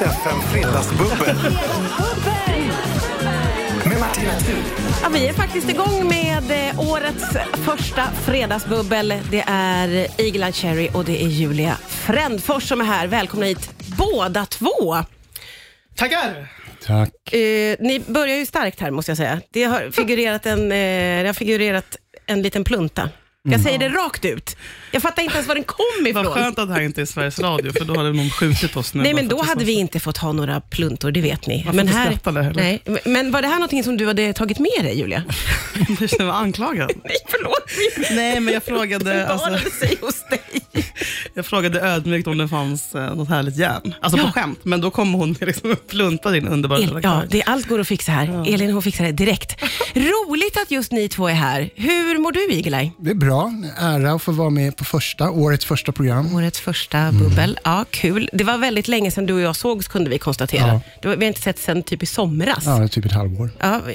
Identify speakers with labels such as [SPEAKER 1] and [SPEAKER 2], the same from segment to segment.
[SPEAKER 1] FM Fredagsbubbel med Martina Thun.
[SPEAKER 2] Ja, vi är faktiskt igång med eh, årets första fredagsbubbel. Det är Iglan Cherry och det är Julia Frändfors som är här. Välkomna hit båda två.
[SPEAKER 3] Tackar!
[SPEAKER 4] Tack.
[SPEAKER 2] Eh, ni börjar ju starkt här måste jag säga. Det har figurerat en, eh, det har figurerat en liten plunta. Jag säger det rakt ut. Jag fattar inte ens var den kom
[SPEAKER 3] Vad
[SPEAKER 2] ifrån.
[SPEAKER 3] skönt att det här inte är Sveriges Radio, för då hade någon skjutit oss nu.
[SPEAKER 2] Nej,
[SPEAKER 3] bara
[SPEAKER 2] men
[SPEAKER 3] för
[SPEAKER 2] då
[SPEAKER 3] att
[SPEAKER 2] hade
[SPEAKER 3] sa-
[SPEAKER 2] vi inte fått ha några pluntor, det vet ni.
[SPEAKER 3] Man får
[SPEAKER 2] Men
[SPEAKER 3] inte skratta där heller.
[SPEAKER 2] nej, men var det här någonting som du hade tagit med dig, Julia?
[SPEAKER 3] Jag känner mig anklagad.
[SPEAKER 2] nej, förlåt.
[SPEAKER 3] Nej, men jag frågade,
[SPEAKER 2] Barnen
[SPEAKER 3] alltså,
[SPEAKER 2] sig hos dig.
[SPEAKER 3] jag frågade ödmjukt om det fanns eh, något härligt järn. Alltså
[SPEAKER 2] Ja.
[SPEAKER 3] på skämt, men då kom hon liksom och pluntade in underbara
[SPEAKER 2] El, ja,
[SPEAKER 3] karaktär.
[SPEAKER 2] det, allt går att fixa här. Elin hon fixar det direkt. Roligt att just ni två är här. Hur mår du Igelaj?
[SPEAKER 4] Det är bra. Ära att få vara med på första, årets första program.
[SPEAKER 2] Årets första bubbel. Ja, kul. Det var väldigt länge sedan du och jag sågs kunde vi konstatera.
[SPEAKER 4] Ja.
[SPEAKER 2] Det var, vi har inte sett sen typ i somras.
[SPEAKER 4] Ja,
[SPEAKER 2] Ja.
[SPEAKER 4] det är typ ett halvår.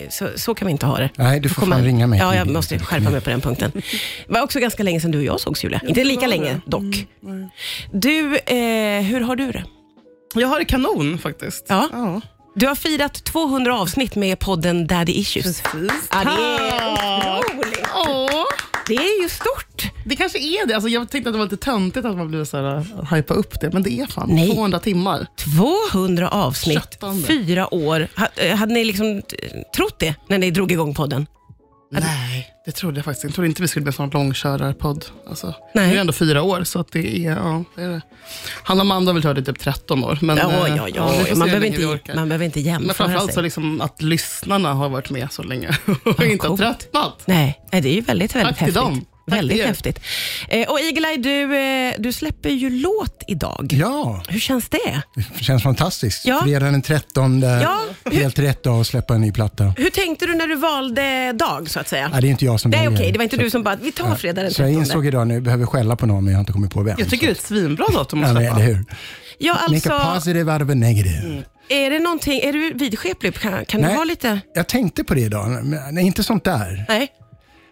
[SPEAKER 2] så, så kan vi inte ha det.
[SPEAKER 4] Nej, du får
[SPEAKER 2] kommer-
[SPEAKER 4] fan ringa mig.
[SPEAKER 2] Ja, jag måste skärpa mig på den punkten. Det var också ganska länge sedan du och jag sågs, Julia. Inte lika länge
[SPEAKER 3] Mm,
[SPEAKER 2] dock. Du, eh, hur har du det?
[SPEAKER 3] Jag har det kanon faktiskt.
[SPEAKER 2] Ja. Du har firat 200 avsnitt med podden Daddy Issues.
[SPEAKER 3] Precis.
[SPEAKER 2] Ja,
[SPEAKER 3] Ah!
[SPEAKER 2] det är
[SPEAKER 3] Tack.
[SPEAKER 2] otroligt.
[SPEAKER 3] Åh.
[SPEAKER 2] Det är ju stort.
[SPEAKER 3] Det kanske är det. Alltså, jag tänkte att det var lite töntigt att man blev så här, eh, hypa upp det, men det är fan
[SPEAKER 2] Nej.
[SPEAKER 3] 200 timmar.
[SPEAKER 2] 200 avsnitt,
[SPEAKER 3] Köttande.
[SPEAKER 2] fyra år. Ha- eh, Hade ni liksom eh, trott det när ni drog igång podden?
[SPEAKER 3] Nej, det trodde jag faktiskt inte. Jag trodde inte vi skulle bli en sån långkörarpodd. Alltså,
[SPEAKER 2] Nej.
[SPEAKER 3] Nu är jag ändå fyra år, så att det är... Ja, det är det. Hanna och Amanda har väl hört det i typ 13 år. Men,
[SPEAKER 2] Ja,
[SPEAKER 3] eh,
[SPEAKER 2] ja, ja.
[SPEAKER 3] vi får se
[SPEAKER 2] man,
[SPEAKER 3] hur
[SPEAKER 2] behöver
[SPEAKER 3] länge vi
[SPEAKER 2] inte,
[SPEAKER 3] orkar.
[SPEAKER 2] man behöver inte
[SPEAKER 3] men
[SPEAKER 2] jämföra sig.
[SPEAKER 3] framförallt så liksom att lyssnarna har varit med så länge och inte har
[SPEAKER 2] coolt.
[SPEAKER 3] tröttnat.
[SPEAKER 2] Nej, nej, det är ju väldigt, väldigt
[SPEAKER 3] till
[SPEAKER 2] häftigt.
[SPEAKER 3] dem. Tack
[SPEAKER 2] väldigt
[SPEAKER 3] till er.
[SPEAKER 2] häftigt. Eh, och Igelaj, du, eh, du släpper ju låt idag.
[SPEAKER 4] Ja,
[SPEAKER 2] Hur känns det?
[SPEAKER 4] det känns fantastiskt.
[SPEAKER 2] Ja.
[SPEAKER 4] Fredag den 13,
[SPEAKER 2] Ja.
[SPEAKER 4] helt rätt dag att släppa en ny platta.
[SPEAKER 2] Hur tänkte du när du valde dag, så att säga?
[SPEAKER 4] Nej, det är inte jag som
[SPEAKER 2] det är
[SPEAKER 4] väljer.
[SPEAKER 2] okej, det var inte du som bara, vi tar fredag den
[SPEAKER 4] Så jag
[SPEAKER 2] 13.
[SPEAKER 4] insåg idag nu, behöver skälla på någon men jag har inte kommit på vem.
[SPEAKER 3] Jag tycker det är ett svinbra datum att
[SPEAKER 4] Ja, men, eller
[SPEAKER 3] släppa.
[SPEAKER 4] hur?
[SPEAKER 2] Ja,
[SPEAKER 4] Make a
[SPEAKER 2] alltså,
[SPEAKER 4] positive out of a negative.
[SPEAKER 2] är det någonting, är du vidskeplig? Kan, kan du
[SPEAKER 4] Nej.
[SPEAKER 2] vara lite...
[SPEAKER 4] Jag tänkte på det idag, men nej, inte sånt där.
[SPEAKER 2] Nej.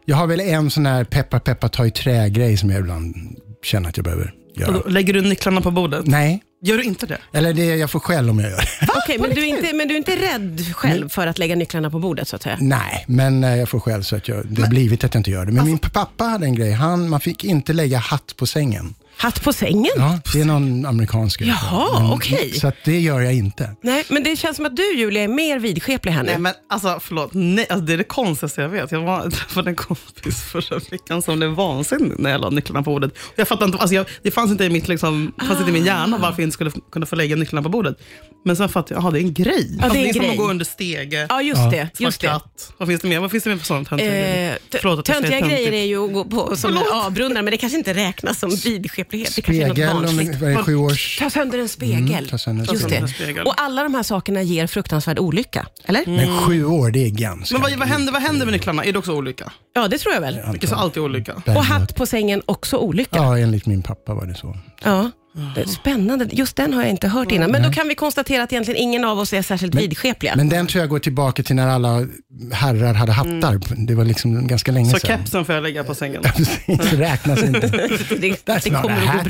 [SPEAKER 4] Jag har väl en sån här peppa peppa ta i trä-grej som jag ibland känner att jag behöver
[SPEAKER 3] Och
[SPEAKER 4] göra.
[SPEAKER 3] då lägger du nycklarna på bordet?
[SPEAKER 4] Nej,
[SPEAKER 3] Gör du inte det?
[SPEAKER 4] Eller det jag får skäll om jag gör det.
[SPEAKER 2] Okej, men, du är inte- men du är inte rädd själv för att lägga nycklarna på bordet så att säga?
[SPEAKER 4] Nej, men eh, jag får skäll så att jag, det har blivit att jag inte gör det. Men
[SPEAKER 3] Alltså-
[SPEAKER 4] min pappa hade en grej. Han, man fick inte lägga hatt på sängen.
[SPEAKER 2] Hatt på sängen?
[SPEAKER 4] Ja, det är någon amerikansk grej.
[SPEAKER 2] Jaha,
[SPEAKER 4] Men-
[SPEAKER 2] okej.
[SPEAKER 4] Så att det gör jag inte.
[SPEAKER 2] Nej, men det känns som att du Julia är mer vidskeplig här nu.
[SPEAKER 3] Nej, men alltså förlåt. Nej, alltså, det är det konstigaste jag vet. Jag var, träffade en kompis förra veckan som blev vansinnig när jag la nycklarna på bordet. Jag fattar inte, alltså, jag, det fanns inte i mitt, liksom, fanns inte i min hjärna varför jag inte skulle f- kunna få lägga nycklarna på bordet. Men sen fattade jag, jaha det är en grej.
[SPEAKER 2] det är
[SPEAKER 3] alltså,
[SPEAKER 2] en
[SPEAKER 3] det är som
[SPEAKER 2] grej.
[SPEAKER 3] att gå under stege.
[SPEAKER 2] Ja, just det. Just
[SPEAKER 3] Svart
[SPEAKER 2] det.
[SPEAKER 3] katt. Vad finns det mer? Vad finns det mer för sånt? Töntiga
[SPEAKER 2] Eh,
[SPEAKER 3] grejer.
[SPEAKER 2] t-
[SPEAKER 3] Förlåt att jag
[SPEAKER 2] töntiga
[SPEAKER 3] säger
[SPEAKER 2] grejer
[SPEAKER 3] töntigt.
[SPEAKER 2] är ju att gå på som
[SPEAKER 3] Förlåt.
[SPEAKER 2] avbrunnar, men det kanske inte räknas som vidskeplighet. Det kanske är något
[SPEAKER 4] Spegel, om
[SPEAKER 2] barnsligt.
[SPEAKER 4] det är sju års...
[SPEAKER 2] Ta sönder en spegel.
[SPEAKER 4] Mm, ta sönder en
[SPEAKER 2] Just
[SPEAKER 4] spegel. Mm.
[SPEAKER 2] det. Och alla de här sakerna ger fruktansvärd olycka, eller?
[SPEAKER 4] Men sju år, det är ganska...
[SPEAKER 3] Mm. Men vad, vad, händer, vad händer med nycklarna? Är det också olycka?
[SPEAKER 2] Ja, det tror jag väl.
[SPEAKER 3] Vilket så alltid är olycka.
[SPEAKER 2] Och hatt på sängen, också olycka.
[SPEAKER 4] Ja, enligt min pappa var det så.
[SPEAKER 2] Ja. Spännande. Just den har jag inte hört innan. Men då kan vi konstatera att egentligen ingen av oss är särskilt vidskepliga.
[SPEAKER 4] Men den tror jag går tillbaka till när alla herrar hade hattar. Det var liksom ganska länge
[SPEAKER 3] Mm. Så
[SPEAKER 4] sedan.
[SPEAKER 3] kepsen får jag lägga på sängen.
[SPEAKER 4] det räknas inte.
[SPEAKER 2] det,
[SPEAKER 4] That's
[SPEAKER 2] det
[SPEAKER 4] not
[SPEAKER 2] kommer
[SPEAKER 4] a
[SPEAKER 2] att gå
[SPEAKER 4] hat.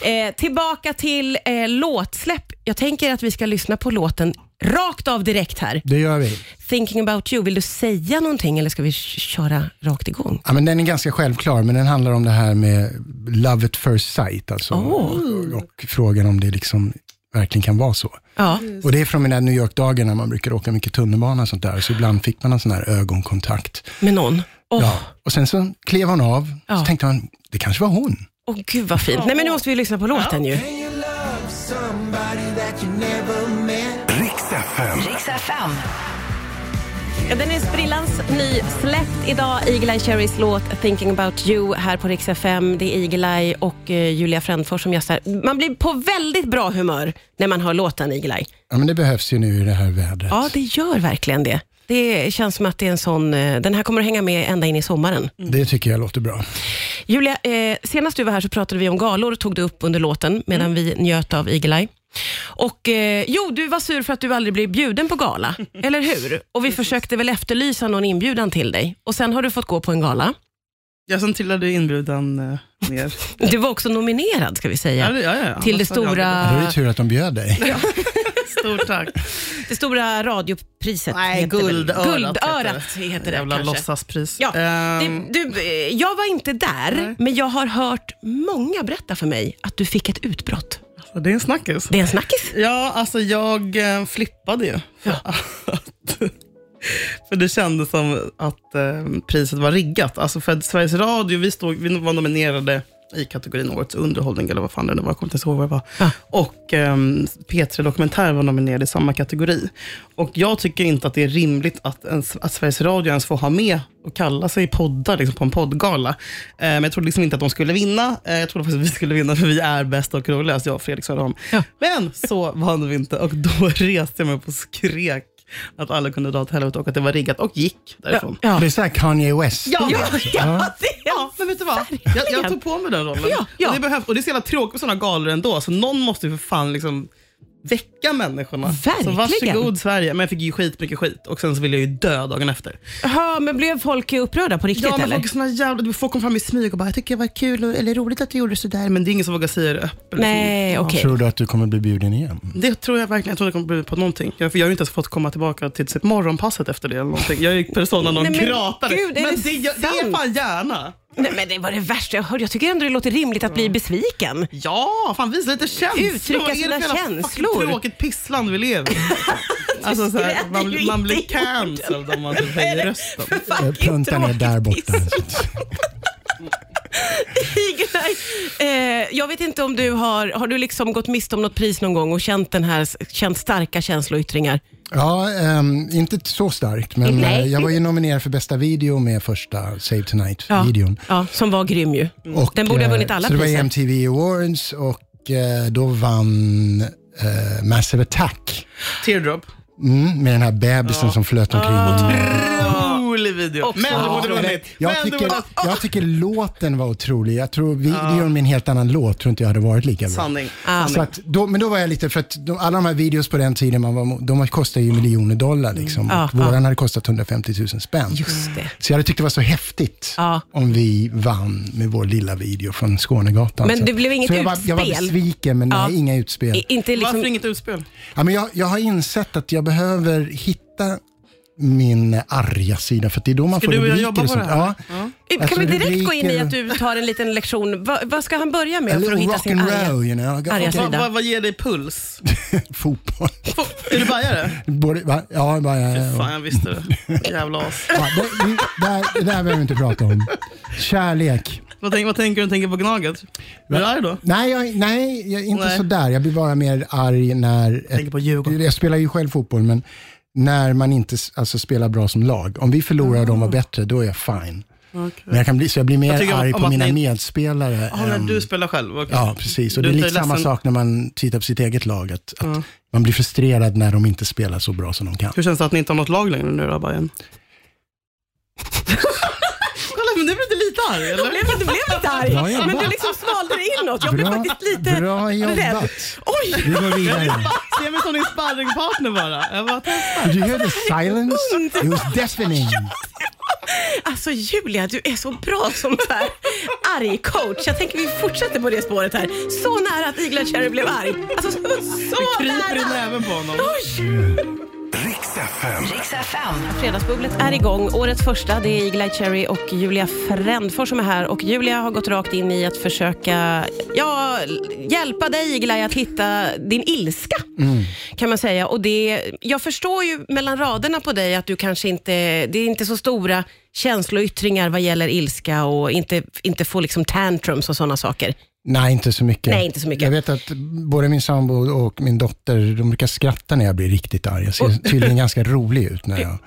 [SPEAKER 2] bra. Eh, tillbaka till eh, låtsläpp. Jag tänker att vi ska lyssna på låten rakt av direkt här.
[SPEAKER 4] Det gör vi.
[SPEAKER 2] Thinking about you. Vill du säga någonting eller ska vi k- köra rakt igång?
[SPEAKER 4] Ja, men den är ganska självklar, men den handlar om det här med love at first sight. Alltså, Och frågan om det liksom verkligen kan vara så.
[SPEAKER 2] Ja.
[SPEAKER 4] Och Det är från mina New York-dagar när man brukar åka mycket tunnelbana och sånt där. Så ibland fick man en sån här ögonkontakt.
[SPEAKER 2] Med någon? Åh,
[SPEAKER 4] Ja. Och Sen så klev hon av,
[SPEAKER 2] Ja.
[SPEAKER 4] så tänkte man, det kanske var hon.
[SPEAKER 2] åh, gud vad fint. Nej, men nu måste vi lyssna på låten ju.
[SPEAKER 1] Riks FM.
[SPEAKER 5] Riks FM.
[SPEAKER 2] Ja, den är sprillans ny släppt idag. Eagle-Eye Cherrys låt Thinking about you här på Rix FM. Det är Eagle-Eye och eh, Julia Frändfors som gästar. Man blir på väldigt bra humör när man hör låten Eagle-Eye.
[SPEAKER 4] Ja, men det behövs ju nu i det här vädret.
[SPEAKER 2] Ja, det gör verkligen det. Det känns som att det är en sån, eh, den här kommer att hänga med ända in i sommaren.
[SPEAKER 4] Det tycker jag låter bra.
[SPEAKER 2] Julia, eh, senast du var här så pratade vi om galor, tog du upp under låten
[SPEAKER 3] Mm.
[SPEAKER 2] medan vi njöt av Eagle-Eye. Och, eh, jo, du var sur för att du aldrig blev bjuden på gala, eller hur? Och vi försökte väl efterlysa någon inbjudan till dig. Och sen har du fått gå på en gala.
[SPEAKER 3] Jag sen trillade ju inbjudan eh, mer.
[SPEAKER 2] Du var också nominerad, ska vi säga,
[SPEAKER 3] Ja, det- ja, ja, ja.
[SPEAKER 2] till det
[SPEAKER 3] Annars hade jag
[SPEAKER 4] Det
[SPEAKER 2] stora,
[SPEAKER 4] var ju tur att de bjöd dig.
[SPEAKER 3] Stort tack.
[SPEAKER 2] det stora radiopriset.
[SPEAKER 3] Nej,
[SPEAKER 2] heter det väl?
[SPEAKER 3] guldörat.
[SPEAKER 2] Guldörat heter det
[SPEAKER 3] Jävla
[SPEAKER 2] kanske.
[SPEAKER 3] låtsaspris.
[SPEAKER 2] Ja,
[SPEAKER 3] Ehm,
[SPEAKER 2] det, du, eh, jag var inte där, men jag har hört många berätta för mig att du fick ett utbrott.
[SPEAKER 3] så det är en snackis.
[SPEAKER 2] Det är en snackis.
[SPEAKER 3] Ja, alltså jag eh, flippade ju. För, att, för det kändes som att eh, priset var riggat. Alltså för att Sveriges Radio, vi, stod, vi var nominerade i kategorin Årets underhållning, eller vad fan det nu var, jag kommer inte ens ihåg vad det var. Och eh, P3 Dokumentär var nominerad i samma kategori. Och jag tycker inte att det är rimligt att, ens, att Sveriges Radio ens får ha med och kalla sig poddar liksom, på en poddgala. Eh, men jag trodde liksom inte att de skulle vinna. Eh, jag trodde faktiskt att vi skulle vinna, för vi är bäst och roligast, jag och Fredrik Söderholm. Men så vann vi inte och då reste jag mig upp och skrek att alla kunde dra åt helvete och att det var riggat och gick därifrån.
[SPEAKER 2] Ja.
[SPEAKER 4] Det är så här Kanye West.
[SPEAKER 3] Ja, ja,
[SPEAKER 2] Ja, det,
[SPEAKER 3] ja, men vet du vad? Jag, jag tog på mig den rollen.
[SPEAKER 2] Ja, ja.
[SPEAKER 3] Och, det behövs, och det är så jävla tråkigt med sådana galor ändå, så någon måste ju för fan liksom väcka människorna. Så
[SPEAKER 2] Verkligen.
[SPEAKER 3] varsågod Sverige. Men jag fick ju skitmycket skit och sen så ville jag ju dö dagen efter.
[SPEAKER 2] Jaha, men blev folk upprörda på riktigt
[SPEAKER 3] Ja, men
[SPEAKER 2] eller?
[SPEAKER 3] folk, är såna jävla, folk kom fram i smyg och bara, jag tycker det var kul och, eller roligt att du gjorde sådär, men det är ingen som vågar säga det öppet.
[SPEAKER 2] Nej, okej.
[SPEAKER 4] Tror du att du kommer bli bjuden igen?
[SPEAKER 3] Det tror jag verkligen. Jag tror det kommer bli på någonting. Jag, för jag har ju inte ens fått komma tillbaka till sitt morgonpasset efter det. Eller någonting. Jag gick persona non
[SPEAKER 2] Nej, men
[SPEAKER 3] grata.
[SPEAKER 2] gud, är det
[SPEAKER 3] men det, jag- det är
[SPEAKER 2] sant?
[SPEAKER 3] fan gärna.
[SPEAKER 2] Nej, men det var det värsta jag hörde. Jag tycker ändå det låter rimligt att bli besviken.
[SPEAKER 3] Ja, fan visa lite känslor.
[SPEAKER 2] Uttrycka
[SPEAKER 3] Vad är det
[SPEAKER 2] sina
[SPEAKER 3] för jävla fucking
[SPEAKER 2] känslor.
[SPEAKER 3] tråkigt pissland vi lever i? alltså, så här,
[SPEAKER 2] skräder ju
[SPEAKER 3] man, man
[SPEAKER 2] inte
[SPEAKER 3] blir
[SPEAKER 2] i orden.
[SPEAKER 3] cancelled om man inte höjer rösten.
[SPEAKER 4] Eh, Plunta ner där borta.
[SPEAKER 2] Igelaj, eh, jag vet inte om du har, har du liksom gått miste om något pris någon gång och känt, den här, känt starka känsloyttringar?
[SPEAKER 4] Ja, ehm, inte så starkt, men
[SPEAKER 2] Nej.
[SPEAKER 4] eh, jag var ju nominerad för bästa video med första Save Tonight-videon.
[SPEAKER 2] ja, som var grym ju.
[SPEAKER 4] Och,
[SPEAKER 2] Den borde ha
[SPEAKER 4] eh,
[SPEAKER 2] vunnit alla
[SPEAKER 4] Så det var
[SPEAKER 2] priser.
[SPEAKER 4] MTV Awards och eh, då vann eh, Massive Attack
[SPEAKER 3] Teardrop.
[SPEAKER 4] mm, med den här bebisen som flöt omkring.
[SPEAKER 2] Ah.
[SPEAKER 4] Mm.
[SPEAKER 3] Rolig video. Men du borde vunnit.
[SPEAKER 4] Jag
[SPEAKER 3] Men du
[SPEAKER 4] tycker,
[SPEAKER 3] borde-
[SPEAKER 4] jag tycker låten var otrolig. Jag tror videon med en helt annan låt tror inte jag hade varit lika bra.
[SPEAKER 3] Sanning.
[SPEAKER 2] Ah,
[SPEAKER 4] Så Alltså att då, men då var jag lite, för att de, alla de här videos på den tiden, man var, de kostade ju miljoner dollar. Liksom.
[SPEAKER 2] Ja,
[SPEAKER 4] och våran hade kostat 150 000 spänn.
[SPEAKER 2] Mm. Ah, Just det.
[SPEAKER 4] Så jag hade tyckt det var så häftigt
[SPEAKER 2] Ja.
[SPEAKER 4] om vi vann med vår lilla video från Skånegatan.
[SPEAKER 2] Men
[SPEAKER 4] Så-
[SPEAKER 2] det blev inget
[SPEAKER 4] så jag Var, jag var
[SPEAKER 2] utspel?
[SPEAKER 4] besviken, men
[SPEAKER 2] Ja.
[SPEAKER 4] nej, inga utspel.
[SPEAKER 2] I, inte
[SPEAKER 3] Varför
[SPEAKER 2] liksom,
[SPEAKER 3] inget utspel?
[SPEAKER 4] Ja, men jag, jag har insett att jag behöver hitta min arga sida, för att det är då man
[SPEAKER 3] Ska
[SPEAKER 4] får
[SPEAKER 3] du och jag
[SPEAKER 4] rubriker
[SPEAKER 3] jobba
[SPEAKER 4] och
[SPEAKER 3] på
[SPEAKER 4] sånt.
[SPEAKER 3] det här?
[SPEAKER 4] Ja.
[SPEAKER 2] kan
[SPEAKER 4] Alltså,
[SPEAKER 2] vi direkt
[SPEAKER 4] rubriker-
[SPEAKER 2] gå in i att du tar en liten lektion? Va, vad ska han börja
[SPEAKER 4] A
[SPEAKER 2] med för att
[SPEAKER 4] little
[SPEAKER 2] hitta
[SPEAKER 4] rock
[SPEAKER 2] sin
[SPEAKER 4] and
[SPEAKER 2] arga?
[SPEAKER 4] roll, you know.
[SPEAKER 2] arga
[SPEAKER 4] Okej,
[SPEAKER 3] Vad,
[SPEAKER 2] Frida.
[SPEAKER 3] vad, vad ger dig puls?
[SPEAKER 4] Fotboll.
[SPEAKER 3] Får- Är du bajare?
[SPEAKER 4] Både, va? Ja, bara, ja, ja.
[SPEAKER 3] Fan, jag visste det. Jävla as.
[SPEAKER 4] Ja, det, det, det, här, det där behöver vi inte prata om. Kärlek.
[SPEAKER 3] Vad, tänk, vad tänker du tänker på Gnaget? Hur är det då?
[SPEAKER 4] Nej, jag, nej jag, inte
[SPEAKER 3] Nej.
[SPEAKER 4] sådär. Jag blir bara mer arg när...
[SPEAKER 3] tänker på Djurgården.
[SPEAKER 4] Jag spelar ju själv fotboll, men när man inte s- alltså, spelar bra som lag. Om vi förlorar och de var bättre, då är jag fine. Men jag kan bli, så jag blir mer
[SPEAKER 3] Ah. Jag tycker om-
[SPEAKER 4] arg
[SPEAKER 3] om
[SPEAKER 4] på
[SPEAKER 3] att
[SPEAKER 4] mina
[SPEAKER 3] ni-
[SPEAKER 4] medspelare.
[SPEAKER 3] Ja, när
[SPEAKER 4] än-
[SPEAKER 3] du spelar själv? okej.
[SPEAKER 4] Ja, precis. Och det
[SPEAKER 3] Du
[SPEAKER 4] är
[SPEAKER 3] är
[SPEAKER 4] lite
[SPEAKER 3] inte
[SPEAKER 4] samma
[SPEAKER 3] ledsen- Mm.
[SPEAKER 4] sak när man tittar på sitt eget lag. Att, att Man blir frustrerad när de inte spelar så bra som de kan.
[SPEAKER 3] Hur känns det att ni inte har något lag längre nu då, Bajen? Kolla, men du blev inte lite arg eller?
[SPEAKER 2] Blev du blev lite
[SPEAKER 4] Bra
[SPEAKER 2] arg?
[SPEAKER 4] jobbat.
[SPEAKER 2] Men du liksom svalde det inåt. Jag blev
[SPEAKER 4] Bra-
[SPEAKER 2] faktiskt lite
[SPEAKER 4] bra jobbat.
[SPEAKER 2] rädd. Oj,
[SPEAKER 4] Vi går vidare.
[SPEAKER 3] Ser mig som din sparringpartner bara. Jag bara testar.
[SPEAKER 4] Did you hear the silence? It was deafening.
[SPEAKER 2] alltså Julia, du är så bra som så här arg coach. Jag tänker vi fortsätter på det spåret här. Så nära att Igla Cherry blev arg. Alltså så, så
[SPEAKER 3] Kryper i
[SPEAKER 2] nära.
[SPEAKER 3] näven på honom.
[SPEAKER 2] Oj!
[SPEAKER 1] Riks FM.
[SPEAKER 5] Rix FM.
[SPEAKER 2] Fredagsbubblet är igång. Årets första, det är Iglai Cherry och Julia Frändfors som är här. Och Julia har gått rakt in i att försöka ja, hjälpa dig Iglai att hitta din ilska. Kan man säga. Och det, jag förstår ju mellan raderna på dig att du kanske inte, det är inte så stora känsloyttringar vad gäller ilska och inte, inte få liksom tantrums och sådana saker.
[SPEAKER 4] Nej, inte så mycket.
[SPEAKER 2] Nej, inte så mycket.
[SPEAKER 4] Jag vet att både min sambo och min dotter, de brukar skratta när jag blir riktigt arg. Jag ser tydligen ganska rolig ut när jag...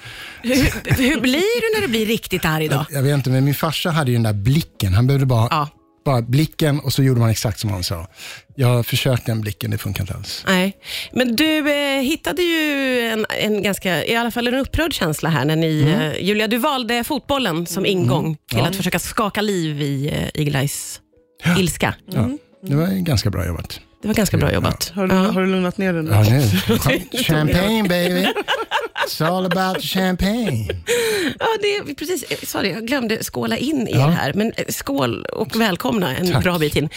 [SPEAKER 2] Hur, hur blir du när du blir riktigt arg då?
[SPEAKER 4] Jag vet inte, men min farsa hade ju den där blicken. Han behövde bara,
[SPEAKER 2] Ja.
[SPEAKER 4] bara blicken och så gjorde man exakt som han sa. Jag har försökt den blicken, det funkar inte alls.
[SPEAKER 2] Nej, men du eh, hittade ju en, en ganska, i alla fall en upprörd känsla här när ni,
[SPEAKER 4] Mm.
[SPEAKER 2] eh, Julia, du valde fotbollen som ingång till att försöka skaka liv i eh, Iglais ilska.
[SPEAKER 4] Ja, det var
[SPEAKER 2] mm.
[SPEAKER 4] ju ganska bra jobbat.
[SPEAKER 2] Det var ganska bra jobbat.
[SPEAKER 3] Har du, har du lugnat ner dig nu?
[SPEAKER 4] Ja, nu. Champagne baby. It's all about the champagne.
[SPEAKER 2] Ja, det, precis. Eh, Sorry, jag glömde skåla in er
[SPEAKER 4] Ja.
[SPEAKER 2] här. Men eh, skål och välkomna en
[SPEAKER 4] Tack.
[SPEAKER 2] bra bit in.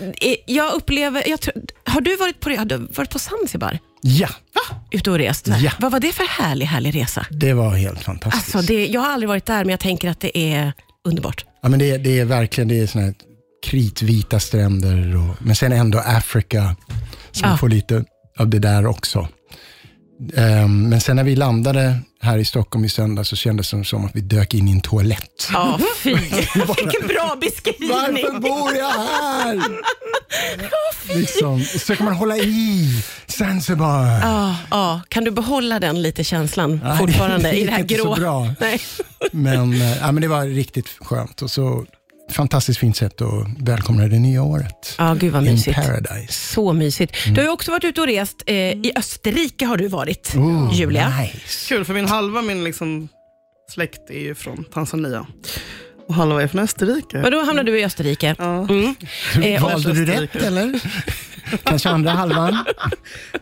[SPEAKER 2] Eh, Jag upplever... Jag, tror- har du varit på, re- har du varit på Zanzibar?
[SPEAKER 4] Ja,
[SPEAKER 2] Ute och rest?
[SPEAKER 4] Ja.
[SPEAKER 2] Vad var det för härlig, härlig resa?
[SPEAKER 4] det var helt fantastiskt.
[SPEAKER 2] Alltså, det, jag har aldrig varit där, men jag tänker att det är underbart.
[SPEAKER 4] Ja, men det, det är verkligen det är såna här kritvita stränder, och, men sen ändå Afrika som
[SPEAKER 2] Ja.
[SPEAKER 4] får lite av det där också. Ehm, men sen när vi landade här i Stockholm i söndag så kändes det som att vi dök in i en toalett.
[SPEAKER 2] Ja, fy. Mm-hmm. Vilken bra beskrivning.
[SPEAKER 4] Varför bor jag här? liksom. Och så kan man hålla i Zanzibar.
[SPEAKER 2] Ja, ja. Kan du behålla den lite känslan
[SPEAKER 4] Nej,
[SPEAKER 2] fortfarande
[SPEAKER 4] det
[SPEAKER 2] i det här
[SPEAKER 4] gick inte
[SPEAKER 2] grå?
[SPEAKER 4] så bra.
[SPEAKER 2] Nej.
[SPEAKER 4] Men, eh, ja, men det var riktigt skönt. Och så fantastiskt fint sätt att välkomna det nya året.
[SPEAKER 2] Ja, gud vad
[SPEAKER 4] In
[SPEAKER 2] mysigt.
[SPEAKER 4] paradise.
[SPEAKER 2] Så mysigt. Du har ju också varit ute och rest. Eh, I Österrike har du varit, Julia.
[SPEAKER 4] Mm. Nice.
[SPEAKER 3] Kul, för min halva min liksom, släkt är ju från Tanzania. Och halva är från Österrike.
[SPEAKER 2] Men då hamnade du i Österrike.
[SPEAKER 3] Ja.
[SPEAKER 2] Mm. Eh, och,
[SPEAKER 4] Valde du rätt eller? Kanske andra halvan?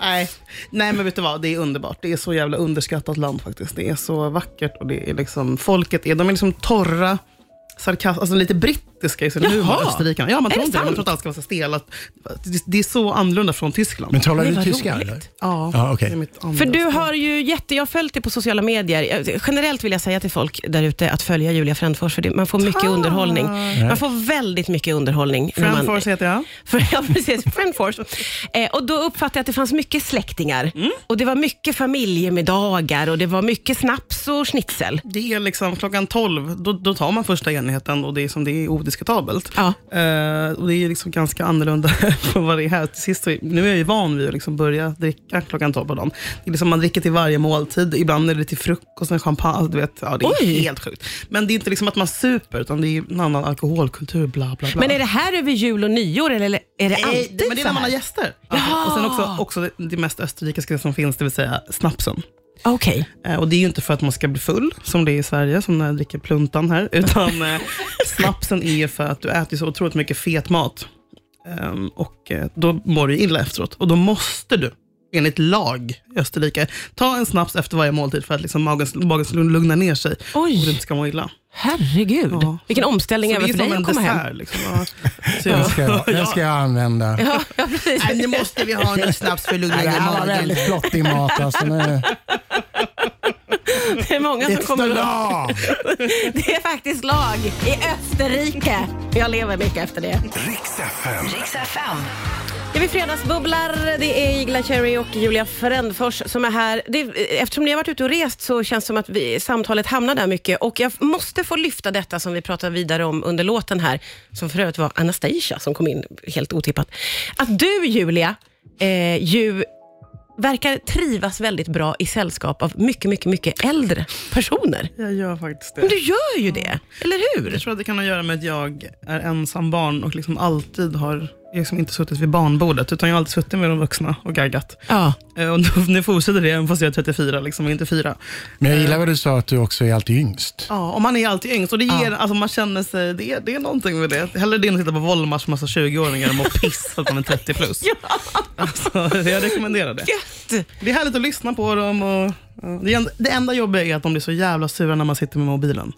[SPEAKER 3] Nej. Nej, men vet du vad? Det är underbart. Det är så jävla underskattat land faktiskt. Det är så vackert och det är liksom, folket är, de är liksom torra, sarkastiska, alltså lite brittiska i sin
[SPEAKER 2] Jaha.
[SPEAKER 3] humor, österrikarna. Ja, man
[SPEAKER 2] Är
[SPEAKER 3] tror
[SPEAKER 2] det
[SPEAKER 3] inte det. Man
[SPEAKER 2] sant?
[SPEAKER 3] tror att allt ska vara så stelat. Det, det är så annorlunda från Tyskland.
[SPEAKER 4] Men talar
[SPEAKER 2] Det
[SPEAKER 4] du
[SPEAKER 2] var
[SPEAKER 4] tyska
[SPEAKER 2] roligt.
[SPEAKER 4] eller?
[SPEAKER 3] ja,
[SPEAKER 4] Ja, okej.
[SPEAKER 3] det är mitt andra
[SPEAKER 2] för du
[SPEAKER 3] språk.
[SPEAKER 2] har ju jätte, jag har följt dig på sociala medier. Eh, Generellt vill jag säga till folk där ute att följa Julia Frändfors, för det, man får
[SPEAKER 4] Ah.
[SPEAKER 2] mycket underhållning. Man får väldigt mycket underhållning. när man-
[SPEAKER 3] Friendforce heter jag.
[SPEAKER 2] För, ja, precis. Friendforce. Eh, och då uppfattade jag att det fanns mycket släktingar.
[SPEAKER 3] Mm.
[SPEAKER 2] Och det var mycket familjemiddagar och det var mycket snaps och schnitzel.
[SPEAKER 3] Det är liksom klockan 12, då, då tar man första enheten och det är som det är odiskutabelt.
[SPEAKER 2] Ja.
[SPEAKER 3] Eh, och det är liksom ganska annorlunda från vad det är här. Till sist, så- nu är jag ju van vid att liksom börja dricka klockan 12 på dagen. Det är liksom man dricker till varje måltid, ibland är det till frukost och champagne. Alltså, du vet, ja, det är
[SPEAKER 2] Oj.
[SPEAKER 3] helt sjukt. Men det är inte liksom att man super, utan det är en annan alkoholkultur. Bla, bla, bla.
[SPEAKER 2] Men är det här över jul och nyår eller eller är det
[SPEAKER 3] Nej,
[SPEAKER 2] alltid
[SPEAKER 3] men det är
[SPEAKER 2] så
[SPEAKER 3] när man
[SPEAKER 2] här?
[SPEAKER 3] har gäster.
[SPEAKER 2] Jaha.
[SPEAKER 3] Och sen också, också det- det mest österrikiska som finns, det vill säga snapsen.
[SPEAKER 2] Okej.
[SPEAKER 3] Eh, Och det är ju inte för att man ska bli full, som det är i Sverige, som när jag dricker pluntan här, utan eh, snapsen är ju för att du äter så otroligt mycket fet mat. Ehm, och eh, då mår du illa efteråt. Och då måste du, enligt lag i Österrike, ta en snaps efter varje måltid för att liksom magen, magen ska lugna ner sig och du
[SPEAKER 2] Oj,
[SPEAKER 3] inte ska må illa.
[SPEAKER 2] herregud.
[SPEAKER 3] Ja.
[SPEAKER 2] Vilken omställning
[SPEAKER 3] Så
[SPEAKER 2] över för
[SPEAKER 3] som
[SPEAKER 2] dig att komma hem.
[SPEAKER 3] liksom. Ja. Så
[SPEAKER 4] Den
[SPEAKER 3] jag-
[SPEAKER 4] ska jag, den ska jag använda.
[SPEAKER 2] Ja, ja, precis.
[SPEAKER 3] Nej, nu måste vi ha en snaps för att lugna
[SPEAKER 4] Nej, Det
[SPEAKER 3] ner
[SPEAKER 4] här var
[SPEAKER 3] magen.
[SPEAKER 4] väldigt flottig mat. Alltså, nu,
[SPEAKER 2] Det är många som
[SPEAKER 4] it's the
[SPEAKER 2] kommer
[SPEAKER 4] law!
[SPEAKER 2] Det är faktiskt lag i Österrike. Jag lever mycket efter det.
[SPEAKER 1] Riks FM.
[SPEAKER 2] Ja, vi fredagsbubblar. Det är Igla Cherry och Julia Frändfors som är här. Det, eftersom ni har varit ute och rest så känns det som att vi, samtalet hamnar där mycket. Och jag måste få lyfta detta som vi pratade vidare om under låten här, som för övrigt var Anastasia som kom in helt otippat. Att du, Julia, eh, ju verkar trivas väldigt bra i sällskap av mycket, mycket, mycket äldre personer.
[SPEAKER 3] Jag gör faktiskt det.
[SPEAKER 2] Men du gör ju det, eller hur?
[SPEAKER 3] Jag tror att det kan ha att göra med att jag är ensam barn och liksom alltid har jag har liksom inte suttit vid barnbordet, utan jag har alltid suttit med de vuxna och gaggat.
[SPEAKER 2] Ja.
[SPEAKER 3] Eh, Och nu, nu fortsätter det, även fast jag är 34 liksom, och inte 4.
[SPEAKER 4] Men jag gillar vad du sa att du också är alltid yngst.
[SPEAKER 3] Ja, och man är alltid yngst och det ger, alltså, man känner sig, det är, det är någonting med det. Hellre det än att sitta på Wollmars massa 20-åringar och må piss för att man är 30 plus. Alltså, jag rekommenderar det.
[SPEAKER 2] Gött!
[SPEAKER 3] Det är härligt att lyssna på dem. Och, ja. det, en- det enda jobbiga är att de blir så jävla sura när man sitter med mobilen.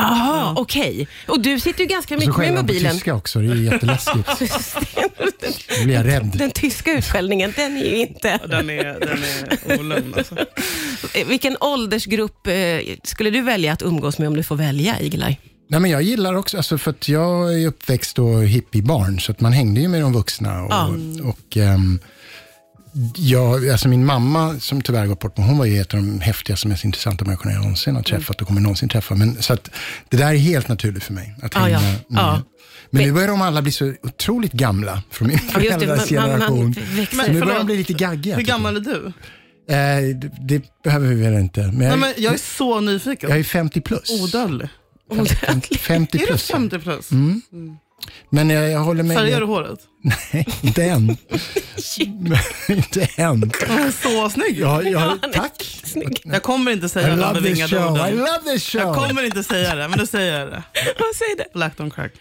[SPEAKER 2] Aha, okej. Och du sitter ju ganska
[SPEAKER 4] Och så
[SPEAKER 2] mycket med
[SPEAKER 4] skäller han på
[SPEAKER 2] mobilen.
[SPEAKER 4] tyska också. Det är ju jätteläskigt. Då blir jag rädd.
[SPEAKER 2] Den tyska utskällningen, den är ju inte...
[SPEAKER 3] Den är, den är olugn alltså.
[SPEAKER 2] Eh, Vilken åldersgrupp eh, skulle du välja att umgås med om du får välja, Igelaj?
[SPEAKER 4] Nej, men jag gillar också, alltså, för att jag är uppväxt då hippiebarn, så att man hängde ju med de vuxna. Och,
[SPEAKER 2] Ja.
[SPEAKER 4] och, ehm, jag, alltså min mamma, som tyvärr gått bort, men hon var ju ett av de häftigaste, mest intressanta människorna jag någonsin har träffat
[SPEAKER 3] Mm.
[SPEAKER 4] och kommer någonsin träffa. Men, så att, det där är helt naturligt för mig, att
[SPEAKER 2] Ja,
[SPEAKER 4] hänga
[SPEAKER 2] ja.
[SPEAKER 4] med.
[SPEAKER 2] Ja.
[SPEAKER 4] Men nu börjar de alla bli så otroligt gamla, från min
[SPEAKER 2] Ja, just det,
[SPEAKER 4] föräldrars
[SPEAKER 2] man- man- man
[SPEAKER 4] generation.
[SPEAKER 2] växer.
[SPEAKER 4] Så nu börjar de
[SPEAKER 3] Förlåt.
[SPEAKER 4] bli lite gaggiga.
[SPEAKER 3] Hur
[SPEAKER 4] tycker jag.
[SPEAKER 3] gammal är du?
[SPEAKER 4] Eh, det, det behöver vi väl inte. Men jag,
[SPEAKER 3] Nej, men jag är så nyfiken.
[SPEAKER 4] jag är 50 plus.
[SPEAKER 3] odödlig.
[SPEAKER 4] 50
[SPEAKER 3] Är du
[SPEAKER 4] plus.
[SPEAKER 3] 50 plus?
[SPEAKER 4] Mm, Men jag, jag håller med.
[SPEAKER 3] Färgar du håret?
[SPEAKER 4] Nej, inte än. Men inte än.
[SPEAKER 3] Så snygg!
[SPEAKER 4] Jag, jag, tack.
[SPEAKER 2] Snygg.
[SPEAKER 3] Jag kommer inte
[SPEAKER 4] I
[SPEAKER 3] säga de
[SPEAKER 4] love this
[SPEAKER 3] bevingade
[SPEAKER 4] show. I
[SPEAKER 3] orden.
[SPEAKER 4] love this
[SPEAKER 3] Jag
[SPEAKER 4] show.
[SPEAKER 3] kommer inte säga det, men nu säger jag det.
[SPEAKER 2] Vad säger du?
[SPEAKER 3] Black on crack.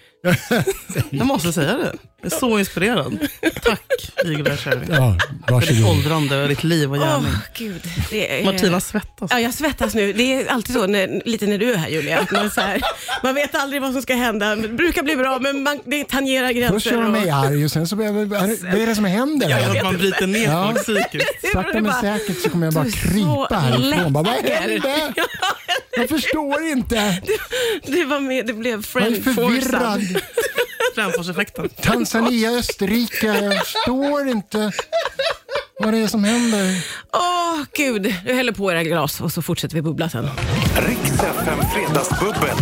[SPEAKER 3] Jag måste säga det. Jag är så inspirerad. Tack, Igor Kärvi. För
[SPEAKER 4] Ja,
[SPEAKER 3] ditt
[SPEAKER 4] varsågod.
[SPEAKER 3] åldrande och ditt liv och
[SPEAKER 2] Åh,
[SPEAKER 3] gärning.
[SPEAKER 2] gud. Det är...
[SPEAKER 3] Martina svettas.
[SPEAKER 2] Ja, jag svettas nu. Det är alltid så, när, lite när du är här Julia. att Man, så här, man vet aldrig vad som ska hända. Det brukar bli bra, men man, det tangerar gränser.
[SPEAKER 4] Först gör de
[SPEAKER 2] och-
[SPEAKER 4] mig arg och sen så börjar jag, vad är det som händer?
[SPEAKER 3] Jag tror att man bryter ner
[SPEAKER 4] Ja.
[SPEAKER 3] folk psykiskt.
[SPEAKER 2] Det
[SPEAKER 4] Sakta
[SPEAKER 2] är
[SPEAKER 4] men
[SPEAKER 2] bara-
[SPEAKER 4] säkert så kommer jag bara
[SPEAKER 2] Du är så
[SPEAKER 4] krypa härifrån. Bara, vad
[SPEAKER 2] läcker.
[SPEAKER 4] hände? Jag förstår inte.
[SPEAKER 2] Du var med, det blev
[SPEAKER 4] Jag är
[SPEAKER 2] friend
[SPEAKER 4] förvirrad.
[SPEAKER 2] foursome.
[SPEAKER 3] Framförseffekten.
[SPEAKER 4] Tanzania, Österrike. Jag förstår inte vad det är som händer.
[SPEAKER 2] Åh, gud. Du häller på era glas och så fortsätter vi bubbla sen.
[SPEAKER 1] Riks FM Fredagsbubbel.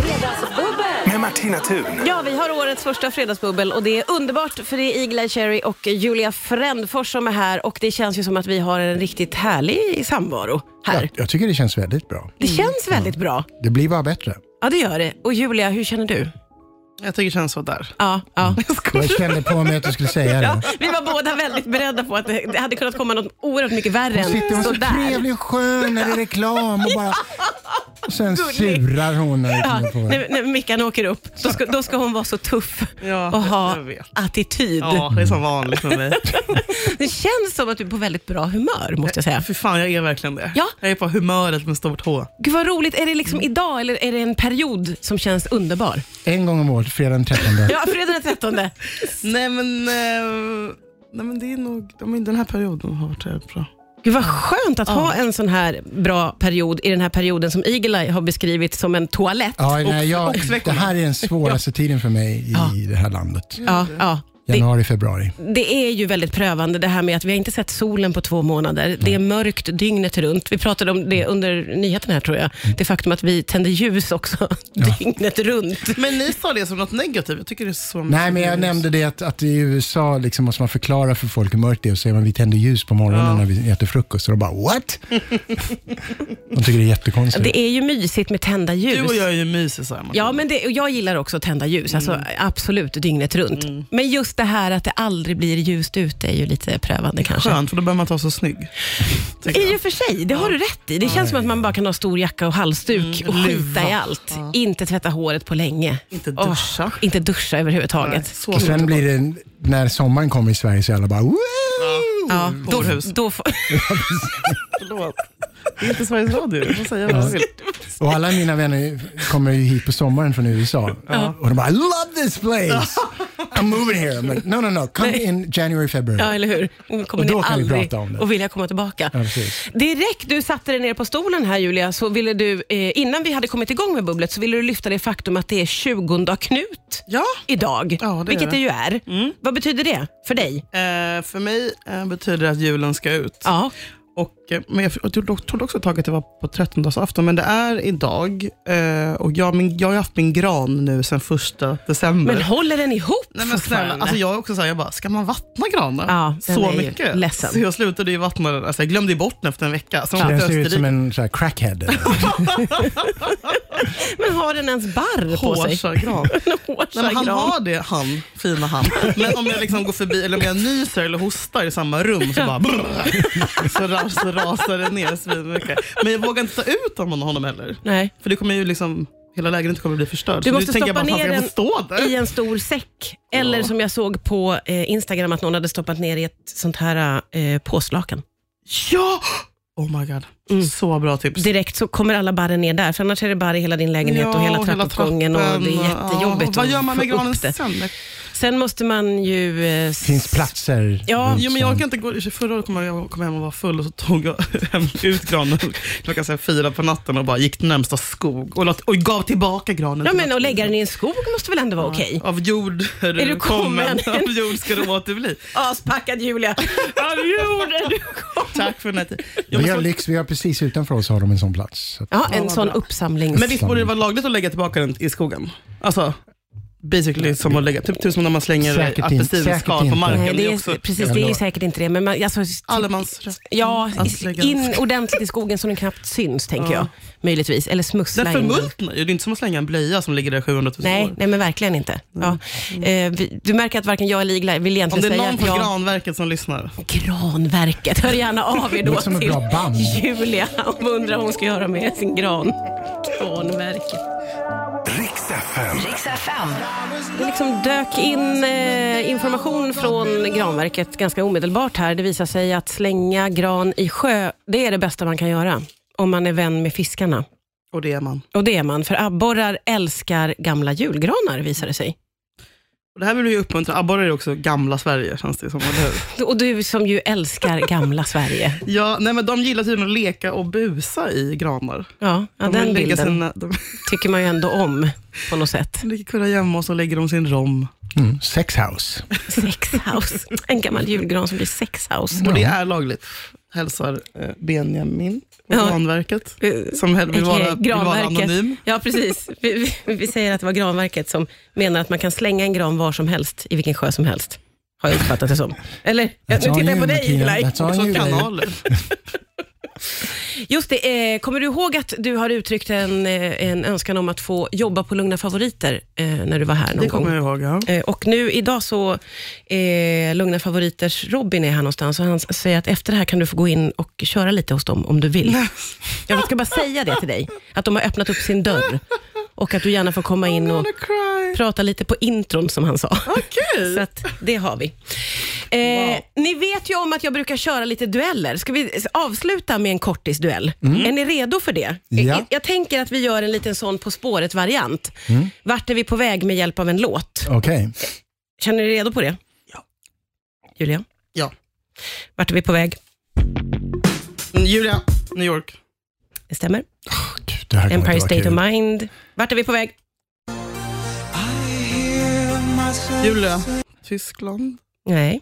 [SPEAKER 1] Med Martina Thun.
[SPEAKER 2] Ja, vi har årets första fredagsbubbel och det är underbart för det är Eagle-Eye Cherry och Julia Frändfors som är här och det känns ju som att vi har en riktigt härlig samvaro här.
[SPEAKER 4] Jag tycker det känns väldigt bra.
[SPEAKER 2] Det känns
[SPEAKER 4] Mm.
[SPEAKER 2] väldigt bra.
[SPEAKER 4] Det blir bara bättre.
[SPEAKER 2] Ja, det gör det. Och Julia, hur känner du?
[SPEAKER 3] Jag tycker det känns sådär.
[SPEAKER 2] Ja, ja.
[SPEAKER 4] Jag kände på mig att du skulle säga det.
[SPEAKER 2] Vi var båda väldigt beredda på att det det hade kunnat komma något oerhört mycket värre
[SPEAKER 4] Hon sitter
[SPEAKER 2] än
[SPEAKER 4] hon är så
[SPEAKER 2] sådär.
[SPEAKER 4] trevlig och skön när det är reklam och bara... Och sen surar hon när det
[SPEAKER 2] Ja,
[SPEAKER 4] kommer på henne.
[SPEAKER 2] när, när Mickan åker upp, då ska, då ska hon vara så tuff
[SPEAKER 3] Ja,
[SPEAKER 2] och ha
[SPEAKER 3] jag vet.
[SPEAKER 2] attityd.
[SPEAKER 3] Ja, det är som vanligt med mig.
[SPEAKER 2] Det känns som att du är på väldigt bra humör, måste jag säga.
[SPEAKER 3] Fy fan, jag är verkligen det.
[SPEAKER 2] Ja.
[SPEAKER 3] Jag är på humöret med stort H.
[SPEAKER 2] Gud vad roligt. Är det liksom idag eller är det en period som känns underbar?
[SPEAKER 4] En gång om året, fredag den 13.
[SPEAKER 2] Ja, fredag den 13.
[SPEAKER 3] Nej men, eh, nej, men det är nog, ja, men den här perioden har varit jävligt bra.
[SPEAKER 2] Gud vad skönt att ha en sån här bra period i den här perioden som Eagle-Eye har beskrivit som en toalett.
[SPEAKER 4] Ja, nej, jag, det
[SPEAKER 3] oxveckorna.
[SPEAKER 4] här är den svåraste tiden för mig i det här landet.
[SPEAKER 2] Ja, ja. Det, Mm.
[SPEAKER 4] Januari, februari.
[SPEAKER 2] det är ju väldigt prövande det här med att vi har inte sett solen på två månader. Det är mörkt dygnet runt. Vi pratade om det under nyheten här tror jag.
[SPEAKER 3] Mm.
[SPEAKER 2] Det faktum att vi tänder ljus också dygnet runt.
[SPEAKER 3] Men ni sa det som något negativt. Jag tycker det är så
[SPEAKER 4] Nej, men jag
[SPEAKER 2] Mm.
[SPEAKER 4] nämnde det att, att i USA liksom måste man förklara för folk hur mörkt det är och säger man vi tänder ljus på morgonen när vi äter frukost. Och de bara what? de tycker det är jättekonstigt.
[SPEAKER 2] Det är ju mysigt med tända ljus.
[SPEAKER 3] Du och jag är ju mysiga
[SPEAKER 2] Ja, men det, och jag gillar också att tända ljus,
[SPEAKER 4] Mm.
[SPEAKER 2] alltså, absolut dygnet runt. Men just det här att det aldrig blir ljust ute är ju lite prövande kanske.
[SPEAKER 3] Skönt, för då behöver man inte vara så snygg. tänker
[SPEAKER 2] I
[SPEAKER 3] jag.
[SPEAKER 2] och för sig, det har du rätt i. Det känns som att man bara kan ha stor jacka och
[SPEAKER 4] Mm,
[SPEAKER 2] halsduk och skita i allt. Inte tvätta håret på länge.
[SPEAKER 3] Inte duscha.
[SPEAKER 2] Åh, inte duscha överhuvudtaget.
[SPEAKER 3] Så
[SPEAKER 4] och sen blir det, när sommaren kommer i Sverige så är alla bara Woo!
[SPEAKER 2] Ja, då,
[SPEAKER 3] Kårhus.
[SPEAKER 2] Mm. då får,
[SPEAKER 3] Förlåt. Det är inte Sveriges Radio, du får säga vad du vill.
[SPEAKER 4] Och alla mina vänner kommer ju hit på sommaren från USA. Och de bara I love this place! I'm moving here. Men, no, no, no. Come
[SPEAKER 2] Nej.
[SPEAKER 4] in January, February.
[SPEAKER 2] ja, eller hur? Nu Kommer
[SPEAKER 4] Och
[SPEAKER 2] ni
[SPEAKER 4] då kan vi
[SPEAKER 2] aldrig
[SPEAKER 4] prata om det.
[SPEAKER 2] att vilja komma tillbaka.
[SPEAKER 4] precis.
[SPEAKER 2] Direkt du satte dig ner på stolen här Julia, så ville du, eh, innan vi hade kommit igång med bubblet, så ville du lyfta det faktum att det är 20 Knut
[SPEAKER 3] Ja,
[SPEAKER 2] idag.
[SPEAKER 3] Ja, det
[SPEAKER 2] vilket
[SPEAKER 3] är det. Mm.
[SPEAKER 2] det ju är. Vad betyder det för dig?
[SPEAKER 3] eh, för mig eh, betyder det att julen ska ut.
[SPEAKER 2] Ja.
[SPEAKER 3] Och, eh, men jag jag trodde också- trodde också ett tag att det var på 13-dagsafton, men det är idag. Eh, och jag, min, jag har ju haft min gran nu sedan första december.
[SPEAKER 2] Men håller den ihop
[SPEAKER 3] Nej men snälla,
[SPEAKER 2] fortfarande?
[SPEAKER 3] alltså jag är också såhär, jag bara, ska man vattna granen?
[SPEAKER 2] Ja, den
[SPEAKER 3] så
[SPEAKER 2] är ju
[SPEAKER 3] mycket.
[SPEAKER 2] ledsen.
[SPEAKER 3] Så jag slutade ju vattna den, alltså jag glömde ju bort den efter en vecka. Sen åkte
[SPEAKER 4] Den
[SPEAKER 3] jag
[SPEAKER 4] ser
[SPEAKER 3] till
[SPEAKER 4] ut som
[SPEAKER 3] Österrike.
[SPEAKER 4] en så här, crackhead.
[SPEAKER 2] Men har den ens barr på sig?
[SPEAKER 3] Hårsar gran. Nej, men han
[SPEAKER 2] gran.
[SPEAKER 3] har det, han, fina han. Men om jag liksom går förbi, eller om jag nyser eller hostar i samma rum så bara brrr, så, ras, så rasar det ner svinmycket. Men jag vågar inte ta ut honom, honom heller.
[SPEAKER 2] Nej.
[SPEAKER 3] För det kommer ju liksom, hela lägenheten kommer bli förstörd.
[SPEAKER 2] Du
[SPEAKER 3] Så nu
[SPEAKER 2] måste
[SPEAKER 3] tänker jag
[SPEAKER 2] stoppa
[SPEAKER 3] bara, fan,
[SPEAKER 2] ner
[SPEAKER 3] ska
[SPEAKER 2] den
[SPEAKER 3] jag få stå där.
[SPEAKER 2] I en stor säck. Eller som jag såg på eh, Instagram att någon hade stoppat ner i ett sånt här eh, påslakan.
[SPEAKER 3] Ja! Oh my god,
[SPEAKER 2] Mm.
[SPEAKER 3] så bra tips.
[SPEAKER 2] Direkt så kommer alla barren ner där, för annars är det barr i hela din lägenhet och hela trappuppgången och, det är
[SPEAKER 3] trappen.
[SPEAKER 2] jättejobbigt
[SPEAKER 3] Ja, Vad gör
[SPEAKER 2] att
[SPEAKER 3] man med
[SPEAKER 2] få upp
[SPEAKER 3] granen
[SPEAKER 2] det.
[SPEAKER 3] sen?
[SPEAKER 2] Sen måste man ju... Eh,
[SPEAKER 4] Det finns platser.
[SPEAKER 2] Ja,
[SPEAKER 4] runt
[SPEAKER 3] Jo, men jag
[SPEAKER 4] stan.
[SPEAKER 3] kan inte gå, förra året kom jag, jag kom hem och var full och så tog jag hem ut granen klockan så här fyra på natten och bara gick till närmsta skog och, låt, och gav tillbaka granen.
[SPEAKER 2] Ja,
[SPEAKER 3] till
[SPEAKER 2] men att
[SPEAKER 3] naturen.
[SPEAKER 2] lägga den i en skog måste väl ändå vara okej?
[SPEAKER 3] Av jord är du,
[SPEAKER 2] du kommen?
[SPEAKER 3] kommen, av jord ska du återbli.
[SPEAKER 2] Aspackad Julia. Av jorden du kom.
[SPEAKER 3] Tack för den här tiden. Jo, men
[SPEAKER 4] Vi har
[SPEAKER 3] så-
[SPEAKER 4] lyx, vi har precis utanför oss har de en sån plats. Så att,
[SPEAKER 2] Ja, en
[SPEAKER 3] vad
[SPEAKER 2] sån
[SPEAKER 3] bra.
[SPEAKER 2] uppsamling. Eh,
[SPEAKER 3] Men visst borde det vara lagligt att lägga tillbaka den i skogen? Alltså, basically som att lägga, typ, typ som när man slänger
[SPEAKER 4] Säkert inte, säkert
[SPEAKER 3] apelsinskal på
[SPEAKER 4] inte.
[SPEAKER 3] marken.
[SPEAKER 2] Nej, det är,
[SPEAKER 3] också
[SPEAKER 2] precis, det är ju
[SPEAKER 4] jävla-
[SPEAKER 2] säkert inte det. Men man, alltså,
[SPEAKER 3] allemansrätt.
[SPEAKER 2] ja,
[SPEAKER 3] Att lägga den-
[SPEAKER 2] in ordentligt i skogen så den knappt syns, tänker
[SPEAKER 3] Alltså, Ja.
[SPEAKER 2] jag. Möjligtvis. Eller
[SPEAKER 3] Den
[SPEAKER 2] smussla in.
[SPEAKER 3] förmultnar ju. Det är inte som att slänga en blöja som ligger där 700 000
[SPEAKER 2] Nej,
[SPEAKER 3] år.
[SPEAKER 2] nej, men verkligen inte. Ja. Eh, vi- Du märker att varken jag eller Igla vill
[SPEAKER 3] Mm. Om det
[SPEAKER 2] egentligen
[SPEAKER 3] är
[SPEAKER 2] säga
[SPEAKER 3] någon
[SPEAKER 2] att
[SPEAKER 3] från
[SPEAKER 2] jag...
[SPEAKER 3] Granverket som lyssnar.
[SPEAKER 2] Granverket. Hör gärna av er
[SPEAKER 4] Det
[SPEAKER 2] då
[SPEAKER 4] låter som ett
[SPEAKER 2] till
[SPEAKER 4] bra band.
[SPEAKER 2] Julia om undrar vad hon ska göra med sin gran. Granverket.
[SPEAKER 1] Riks FM.
[SPEAKER 5] Riks FM.
[SPEAKER 2] Det liksom dök in eh, information från granverket ganska omedelbart här. Det visar sig att slänga gran i sjö, det är det bästa man kan göra om man är vän med fiskarna.
[SPEAKER 3] Och det är man.
[SPEAKER 2] Och det är man, för abborrar älskar gamla julgranar visar det sig.
[SPEAKER 3] Och det här vill vi ju uppmuntra. Abborre är också gamla Sverige, känns det som. Eller hur?
[SPEAKER 2] Och du som ju älskar gamla Sverige.
[SPEAKER 3] Ja, nej, men de gillar tydligen att leka och busa i granar.
[SPEAKER 2] Ja, ja
[SPEAKER 3] de vill
[SPEAKER 2] den
[SPEAKER 3] lägga
[SPEAKER 2] bilden
[SPEAKER 3] Sina, de
[SPEAKER 2] tycker man ju ändå om på något sätt.
[SPEAKER 3] ligger kurra gömma och så lägger de sin rom.
[SPEAKER 4] Mm. Sexhouse.
[SPEAKER 2] Sexhouse. En gammal julgran som blir sexhouse.
[SPEAKER 3] Och det är lagligt, hälsar eh, Benjamin på
[SPEAKER 2] Ja.
[SPEAKER 3] Granverket, som hellre vill vara, vill vara
[SPEAKER 2] Granverket.
[SPEAKER 3] anonym.
[SPEAKER 2] Ja, precis. Vi, vi, vi säger att det var Granverket som menar att man kan slänga en gran var som helst, i vilken sjö som helst. Har jag uppfattat det som. Eller? Ja, nu
[SPEAKER 4] all
[SPEAKER 2] tittar jag
[SPEAKER 4] you,
[SPEAKER 2] på dig,
[SPEAKER 4] Martina.
[SPEAKER 2] Iglaj.
[SPEAKER 4] That's all
[SPEAKER 3] Så
[SPEAKER 4] you, babe.
[SPEAKER 3] kanaler.
[SPEAKER 2] Just det, eh, kommer du ihåg att du har uttryckt en, eh, en önskan om att få jobba på Lugna Favoriter eh, när du var här någon
[SPEAKER 3] Det kommer
[SPEAKER 2] gång?
[SPEAKER 3] jag ihåg. Ja.
[SPEAKER 2] Eh, Och nu idag så, eh, Lugna Favoriters Robin är här någonstans och han s- säger att efter det här kan du få gå in och köra lite hos dem om du vill.
[SPEAKER 3] Eh,
[SPEAKER 2] Jag ska bara säga det till dig, att de har öppnat upp sin dörr och att du gärna får komma in och
[SPEAKER 3] Gonna cry.
[SPEAKER 2] prata lite på intron som han sa.
[SPEAKER 3] Okej.
[SPEAKER 2] Så att det har vi. Eh, Ni vet ju om att jag brukar köra lite dueller. Ska vi s- avsluta med en kortisduell? Är ni redo för det?
[SPEAKER 4] Mm. Ja.
[SPEAKER 2] Jag, jag tänker att vi gör en liten sån På spåret-variant.
[SPEAKER 4] Mm.
[SPEAKER 2] Vart är vi på väg med hjälp av en låt?
[SPEAKER 4] Okej.
[SPEAKER 2] Känner ni er redo på det?
[SPEAKER 3] Ja.
[SPEAKER 2] Julia,
[SPEAKER 3] Ja.
[SPEAKER 2] vart är vi på väg?
[SPEAKER 3] Mm, Julia, New York.
[SPEAKER 2] Det stämmer.
[SPEAKER 4] Gud, det här kommer
[SPEAKER 2] Empire
[SPEAKER 4] inte vara
[SPEAKER 2] State
[SPEAKER 4] kul.
[SPEAKER 2] of Mind. Vart är vi på väg?
[SPEAKER 3] Julia, Tyskland.
[SPEAKER 2] Nej.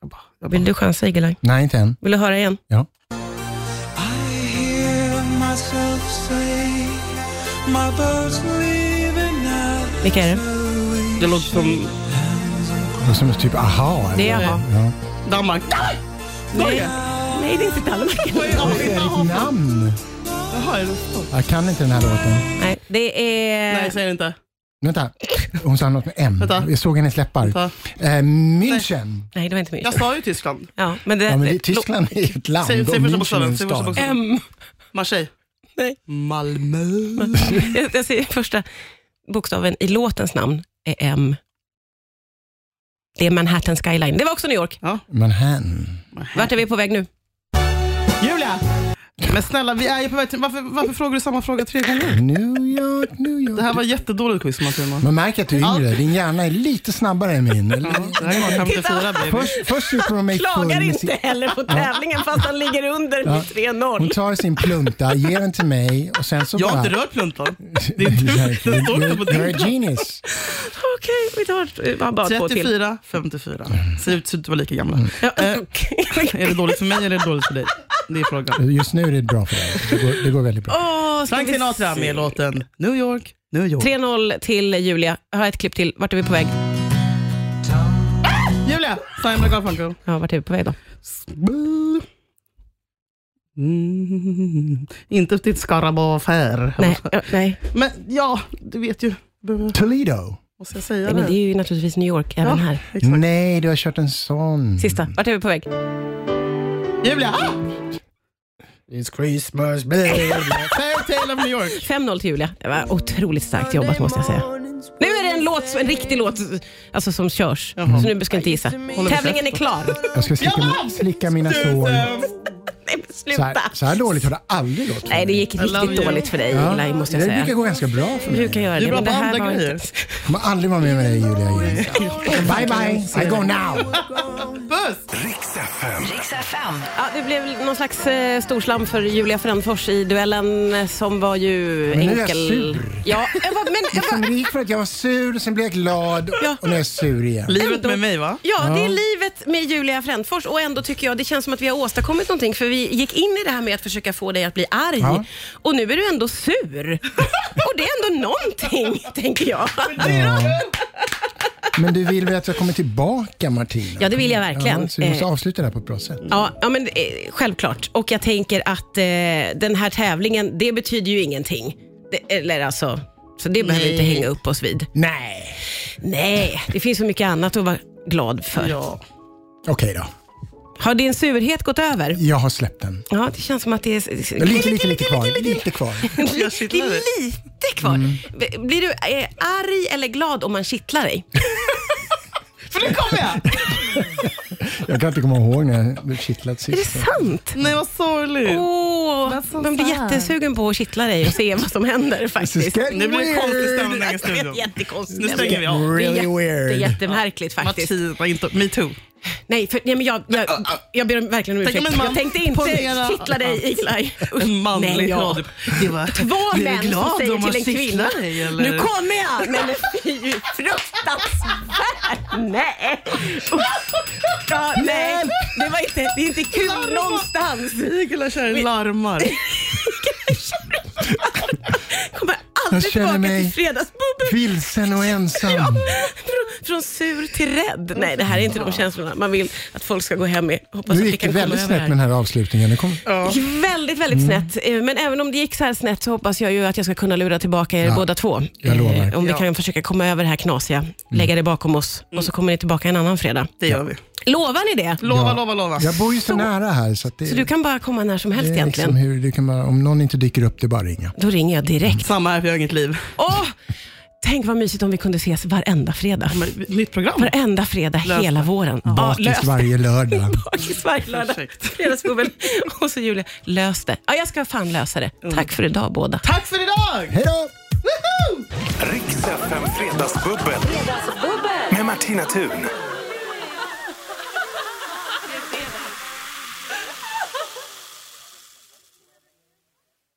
[SPEAKER 3] Jag bara, jag bara.
[SPEAKER 2] Vill du chansa, Igelaj?
[SPEAKER 4] Nej, inte än.
[SPEAKER 2] Vill du höra igen?
[SPEAKER 4] Ja.
[SPEAKER 2] Vilka är det?
[SPEAKER 3] Det låter som
[SPEAKER 4] Det är som typ aha.
[SPEAKER 2] Det är
[SPEAKER 4] eller?
[SPEAKER 2] aha.
[SPEAKER 4] Ja.
[SPEAKER 3] Danmark.
[SPEAKER 2] Nej, Nej det är inte Danmark.
[SPEAKER 4] Det är ditt namn.
[SPEAKER 3] Jaha, är det så?
[SPEAKER 4] Jag kan inte den här låten.
[SPEAKER 2] Nej, det är...
[SPEAKER 3] Nej, säg det inte.
[SPEAKER 4] Vänta. Hon sa något med M.
[SPEAKER 3] Vänta.
[SPEAKER 4] Jag såg hennes läppar.
[SPEAKER 3] Vänta.
[SPEAKER 4] Eh, München.
[SPEAKER 2] Nej, det var inte min.
[SPEAKER 3] Jag sa ju Tyskland.
[SPEAKER 2] Ja, men det,
[SPEAKER 4] Ja, men det, Tyskland är ju ett land
[SPEAKER 3] Eh, Säg-
[SPEAKER 4] och
[SPEAKER 3] säg första
[SPEAKER 4] München
[SPEAKER 3] bokstaven,
[SPEAKER 4] är en
[SPEAKER 3] säg första
[SPEAKER 4] stad.
[SPEAKER 3] bokstaven.
[SPEAKER 2] M.
[SPEAKER 3] Marseille.
[SPEAKER 2] Nej.
[SPEAKER 3] Malmö.
[SPEAKER 2] Jag, jag säger första bokstaven i låtens namn är M. Det är Manhattan skyline. Det var också New York.
[SPEAKER 4] Manhattan.
[SPEAKER 2] Vart är vi på väg nu?
[SPEAKER 3] Julia! Men snälla, vi är ju på väg till... Varför, varför frågar du samma fråga tre gånger?
[SPEAKER 4] New York, New York.
[SPEAKER 3] Det här var jättedåligt quiz Martina.
[SPEAKER 4] Man märker att du är yngre. Din hjärna är lite snabbare än min. Eller-
[SPEAKER 3] Det här var 54 baby.
[SPEAKER 4] Först, först super hon mig full
[SPEAKER 2] Klagar
[SPEAKER 4] med
[SPEAKER 2] inte
[SPEAKER 4] sin-
[SPEAKER 2] heller på tävlingen fast han ligger under med
[SPEAKER 4] Hon
[SPEAKER 2] 3-0.
[SPEAKER 4] tar sin plunta, ger den till mig och sen så
[SPEAKER 3] Jag har
[SPEAKER 4] bara...
[SPEAKER 3] inte rört pluntan. Det är du. Den står inte på
[SPEAKER 4] You're, you're
[SPEAKER 3] din
[SPEAKER 4] a
[SPEAKER 3] plats.
[SPEAKER 4] genius.
[SPEAKER 2] Okej, vi tar han bara två till.
[SPEAKER 3] 34, 54. Ser ut som att vara lika gamla.
[SPEAKER 4] Mm.
[SPEAKER 2] Ja,
[SPEAKER 3] Eh,
[SPEAKER 2] okej.
[SPEAKER 3] Är det dåligt för mig eller är det dåligt för dig? Det är frågan.
[SPEAKER 4] Just nu är det bra för dig. Det går, det går väldigt bra.
[SPEAKER 2] Åh, ska
[SPEAKER 3] Frank
[SPEAKER 2] vi
[SPEAKER 3] Sinatra
[SPEAKER 2] se.
[SPEAKER 3] med låten New York, New York.
[SPEAKER 2] 3-0 till Julia. Jag har ett klipp till. Vart är vi på väg?
[SPEAKER 3] Julia, Simon Garfunkel.
[SPEAKER 2] Ja, vart är vi på väg då?
[SPEAKER 3] Mm, inte till Skaraborg-affär.
[SPEAKER 2] Nej, ja, nej.
[SPEAKER 3] Men ja, du vet ju. Behöver-
[SPEAKER 4] Toledo.
[SPEAKER 3] Måste jag säga
[SPEAKER 2] nej men det är ju naturligtvis New York även
[SPEAKER 3] Ja.
[SPEAKER 2] här.
[SPEAKER 3] Exakt.
[SPEAKER 4] Nej, du har kört en sån.
[SPEAKER 2] Sista, vart är vi på väg?
[SPEAKER 3] Julia! Ah!
[SPEAKER 4] It's Christmas, baby.
[SPEAKER 3] Fairy Tale of New York.
[SPEAKER 2] 5-0 till Julia. Det var otroligt starkt jobbat måste jag säga. Nu är det en låt, en riktig låt alltså, som körs. Så nu ska jag inte gissa. Tävlingen är klar.
[SPEAKER 4] Jag ska slicka, min- slicka mina sår.
[SPEAKER 2] Nej, men
[SPEAKER 4] Så här,
[SPEAKER 2] sluta.
[SPEAKER 4] så här dåligt har det aldrig gått för
[SPEAKER 2] Nej, det
[SPEAKER 4] mig.
[SPEAKER 2] gick
[SPEAKER 3] love
[SPEAKER 2] riktigt
[SPEAKER 3] you.
[SPEAKER 2] dåligt för dig
[SPEAKER 4] Ja,
[SPEAKER 2] Eli, måste jag
[SPEAKER 4] det brukar
[SPEAKER 2] säga.
[SPEAKER 4] gå ganska bra för
[SPEAKER 2] Du
[SPEAKER 4] mig.
[SPEAKER 2] brukar göra
[SPEAKER 3] Du
[SPEAKER 2] det,
[SPEAKER 3] är bra
[SPEAKER 2] men det
[SPEAKER 3] på
[SPEAKER 2] här
[SPEAKER 3] andra
[SPEAKER 2] var
[SPEAKER 3] grejer.
[SPEAKER 2] inte...
[SPEAKER 4] Jag kommer aldrig vara med med dig Julia igen. Bye bye, I go now.
[SPEAKER 3] Puss!
[SPEAKER 1] Riks FM.
[SPEAKER 5] Riks FM.
[SPEAKER 2] Ja, det blev någon slags eh, storslam för Julia Frändfors i duellen eh, som var ju
[SPEAKER 4] Men nu är jag
[SPEAKER 2] enkel.
[SPEAKER 4] sur.
[SPEAKER 2] Ja, jag var, men, jag
[SPEAKER 4] Men
[SPEAKER 2] var,
[SPEAKER 4] det gick för att jag var sur, sen blev jag glad
[SPEAKER 2] Ja.
[SPEAKER 4] och nu är jag sur igen.
[SPEAKER 3] Livet
[SPEAKER 2] Ändå.
[SPEAKER 3] med mig va?
[SPEAKER 2] Ja, det är livet med Julia Frändfors och ändå tycker jag det känns som att vi har åstadkommit någonting för vi gick in i det här med att försöka få dig att bli arg
[SPEAKER 4] Ja.
[SPEAKER 2] och nu är du ändå sur. och det är ändå någonting, tänker jag.
[SPEAKER 4] Men du vill väl att jag kommer tillbaka Martina?
[SPEAKER 2] Ja, det vill jag verkligen.
[SPEAKER 4] Ja, så vi måste
[SPEAKER 2] Eh.
[SPEAKER 4] avsluta det här på ett bra sätt.
[SPEAKER 2] Ja, ja men eh, självklart. Och jag tänker att eh, den här tävlingen, det betyder ju ingenting. Det, eller alltså, så det behöver vi inte hänga upp oss vid.
[SPEAKER 4] Nej.
[SPEAKER 2] Nej, det finns så mycket annat att vara glad för.
[SPEAKER 3] Ja.
[SPEAKER 4] Okej då.
[SPEAKER 2] Har din surhet gått över?
[SPEAKER 4] Jag har släppt den.
[SPEAKER 2] Ja, det känns som att det är...
[SPEAKER 4] Men lite, lite, lite kvar. Lite kvar.
[SPEAKER 3] Jag kittlar
[SPEAKER 2] Det
[SPEAKER 3] dig.
[SPEAKER 2] är
[SPEAKER 3] Mm.
[SPEAKER 2] lite kvar. Blir du eh, arg eller glad om man kittlar dig?
[SPEAKER 3] För nu kommer jag!
[SPEAKER 4] Jag kan inte komma ihåg när jag blev kittlad
[SPEAKER 2] Är det
[SPEAKER 4] sist.
[SPEAKER 2] sant?
[SPEAKER 3] Nej, vad sorgligt.
[SPEAKER 2] Åh,
[SPEAKER 5] That's so
[SPEAKER 2] man blir
[SPEAKER 5] sad.
[SPEAKER 2] jättesugen på att kittla dig och se vad som händer faktiskt.
[SPEAKER 4] getting
[SPEAKER 3] Nu blir det konstig
[SPEAKER 4] weird.
[SPEAKER 3] stämning i
[SPEAKER 2] Det är
[SPEAKER 3] studion.
[SPEAKER 2] jättekonstigt.
[SPEAKER 3] Nu stänger vi av.
[SPEAKER 2] det är
[SPEAKER 4] Really
[SPEAKER 2] jätte-
[SPEAKER 4] weird.
[SPEAKER 2] jättemärkligt faktiskt.
[SPEAKER 3] Martina, inte metoo.
[SPEAKER 2] Nej, för, nej men jag, jag, jag ber om verkligen om
[SPEAKER 3] Äh, Tänk om
[SPEAKER 2] ursäkt.
[SPEAKER 3] en man
[SPEAKER 2] Jag tänkte inte
[SPEAKER 3] ponerar-
[SPEAKER 2] kittla dig, Iglaj.
[SPEAKER 3] En manlig
[SPEAKER 2] Nej, ja.
[SPEAKER 3] radio. Det var
[SPEAKER 2] Två
[SPEAKER 3] Blir du
[SPEAKER 2] män som
[SPEAKER 3] glad om
[SPEAKER 2] säger
[SPEAKER 3] man
[SPEAKER 2] till en kvinna.
[SPEAKER 3] kittlar dig, eller?
[SPEAKER 2] Nu kommer jag! Nej, men fy, fruktansvärt! Nej! Ja, nej, det var inte, det är inte kul någonstans.
[SPEAKER 3] Igla kärring larmar.
[SPEAKER 2] Kommer aldrig
[SPEAKER 4] Jag känner
[SPEAKER 2] tillbaka
[SPEAKER 4] mig-
[SPEAKER 2] till fredagsbubbel.
[SPEAKER 4] Vilsen och ensam.
[SPEAKER 2] Från, från sur till rädd. Nej, det här är inte de känslorna man vill att folk ska gå hem med. Hoppas
[SPEAKER 4] Nu
[SPEAKER 2] att vi
[SPEAKER 4] gick det
[SPEAKER 2] kan komma
[SPEAKER 4] väldigt
[SPEAKER 2] över
[SPEAKER 4] snett
[SPEAKER 2] det
[SPEAKER 4] med
[SPEAKER 2] här.
[SPEAKER 4] den här avslutningen. Det kom...
[SPEAKER 2] Det gick väldigt, väldigt
[SPEAKER 4] Mm.
[SPEAKER 2] snett. Eh, Men även om det gick så här snett så hoppas jag ju att jag ska kunna lura tillbaka er
[SPEAKER 4] Ja,
[SPEAKER 2] båda två.
[SPEAKER 4] jag
[SPEAKER 2] Eh,
[SPEAKER 4] lovar. Mm.
[SPEAKER 2] Om vi
[SPEAKER 3] Ja. Mm.
[SPEAKER 2] kan försöka komma över det här knasiga, lägga det bakom oss och så kommer ni tillbaka en annan fredag.
[SPEAKER 3] Det gör vi.
[SPEAKER 2] Lovar ni det?
[SPEAKER 3] Lova, lova, lova.
[SPEAKER 4] Jag bor ju så, nära här så att det,
[SPEAKER 2] Så du kan bara komma när som helst
[SPEAKER 4] det är
[SPEAKER 2] egentligen.
[SPEAKER 4] liksom hur, det kan bara, om någon inte dyker upp, det är bara att ringa.
[SPEAKER 2] Då ringer jag direkt.
[SPEAKER 4] Mm.
[SPEAKER 3] Samma här, för jag har inget liv.
[SPEAKER 2] Åh, tänk vad mysigt om vi kunde ses varenda fredag.
[SPEAKER 3] Men, nytt program.
[SPEAKER 2] Varenda fredag
[SPEAKER 3] Lös
[SPEAKER 2] hela våren. Ja,
[SPEAKER 4] Bakis
[SPEAKER 2] lös det.
[SPEAKER 4] varje lördag.
[SPEAKER 2] Bakis varje lördag.
[SPEAKER 3] Ursäkt.
[SPEAKER 2] Fredagsbubbel. Och så Julia, lös det. Ja, jag ska fan lösa det.
[SPEAKER 3] Mm.
[SPEAKER 2] Tack för idag båda.
[SPEAKER 3] Tack för idag!
[SPEAKER 4] Hej då!
[SPEAKER 1] Riks FM Fredagsbubbel. Med Martina Thun.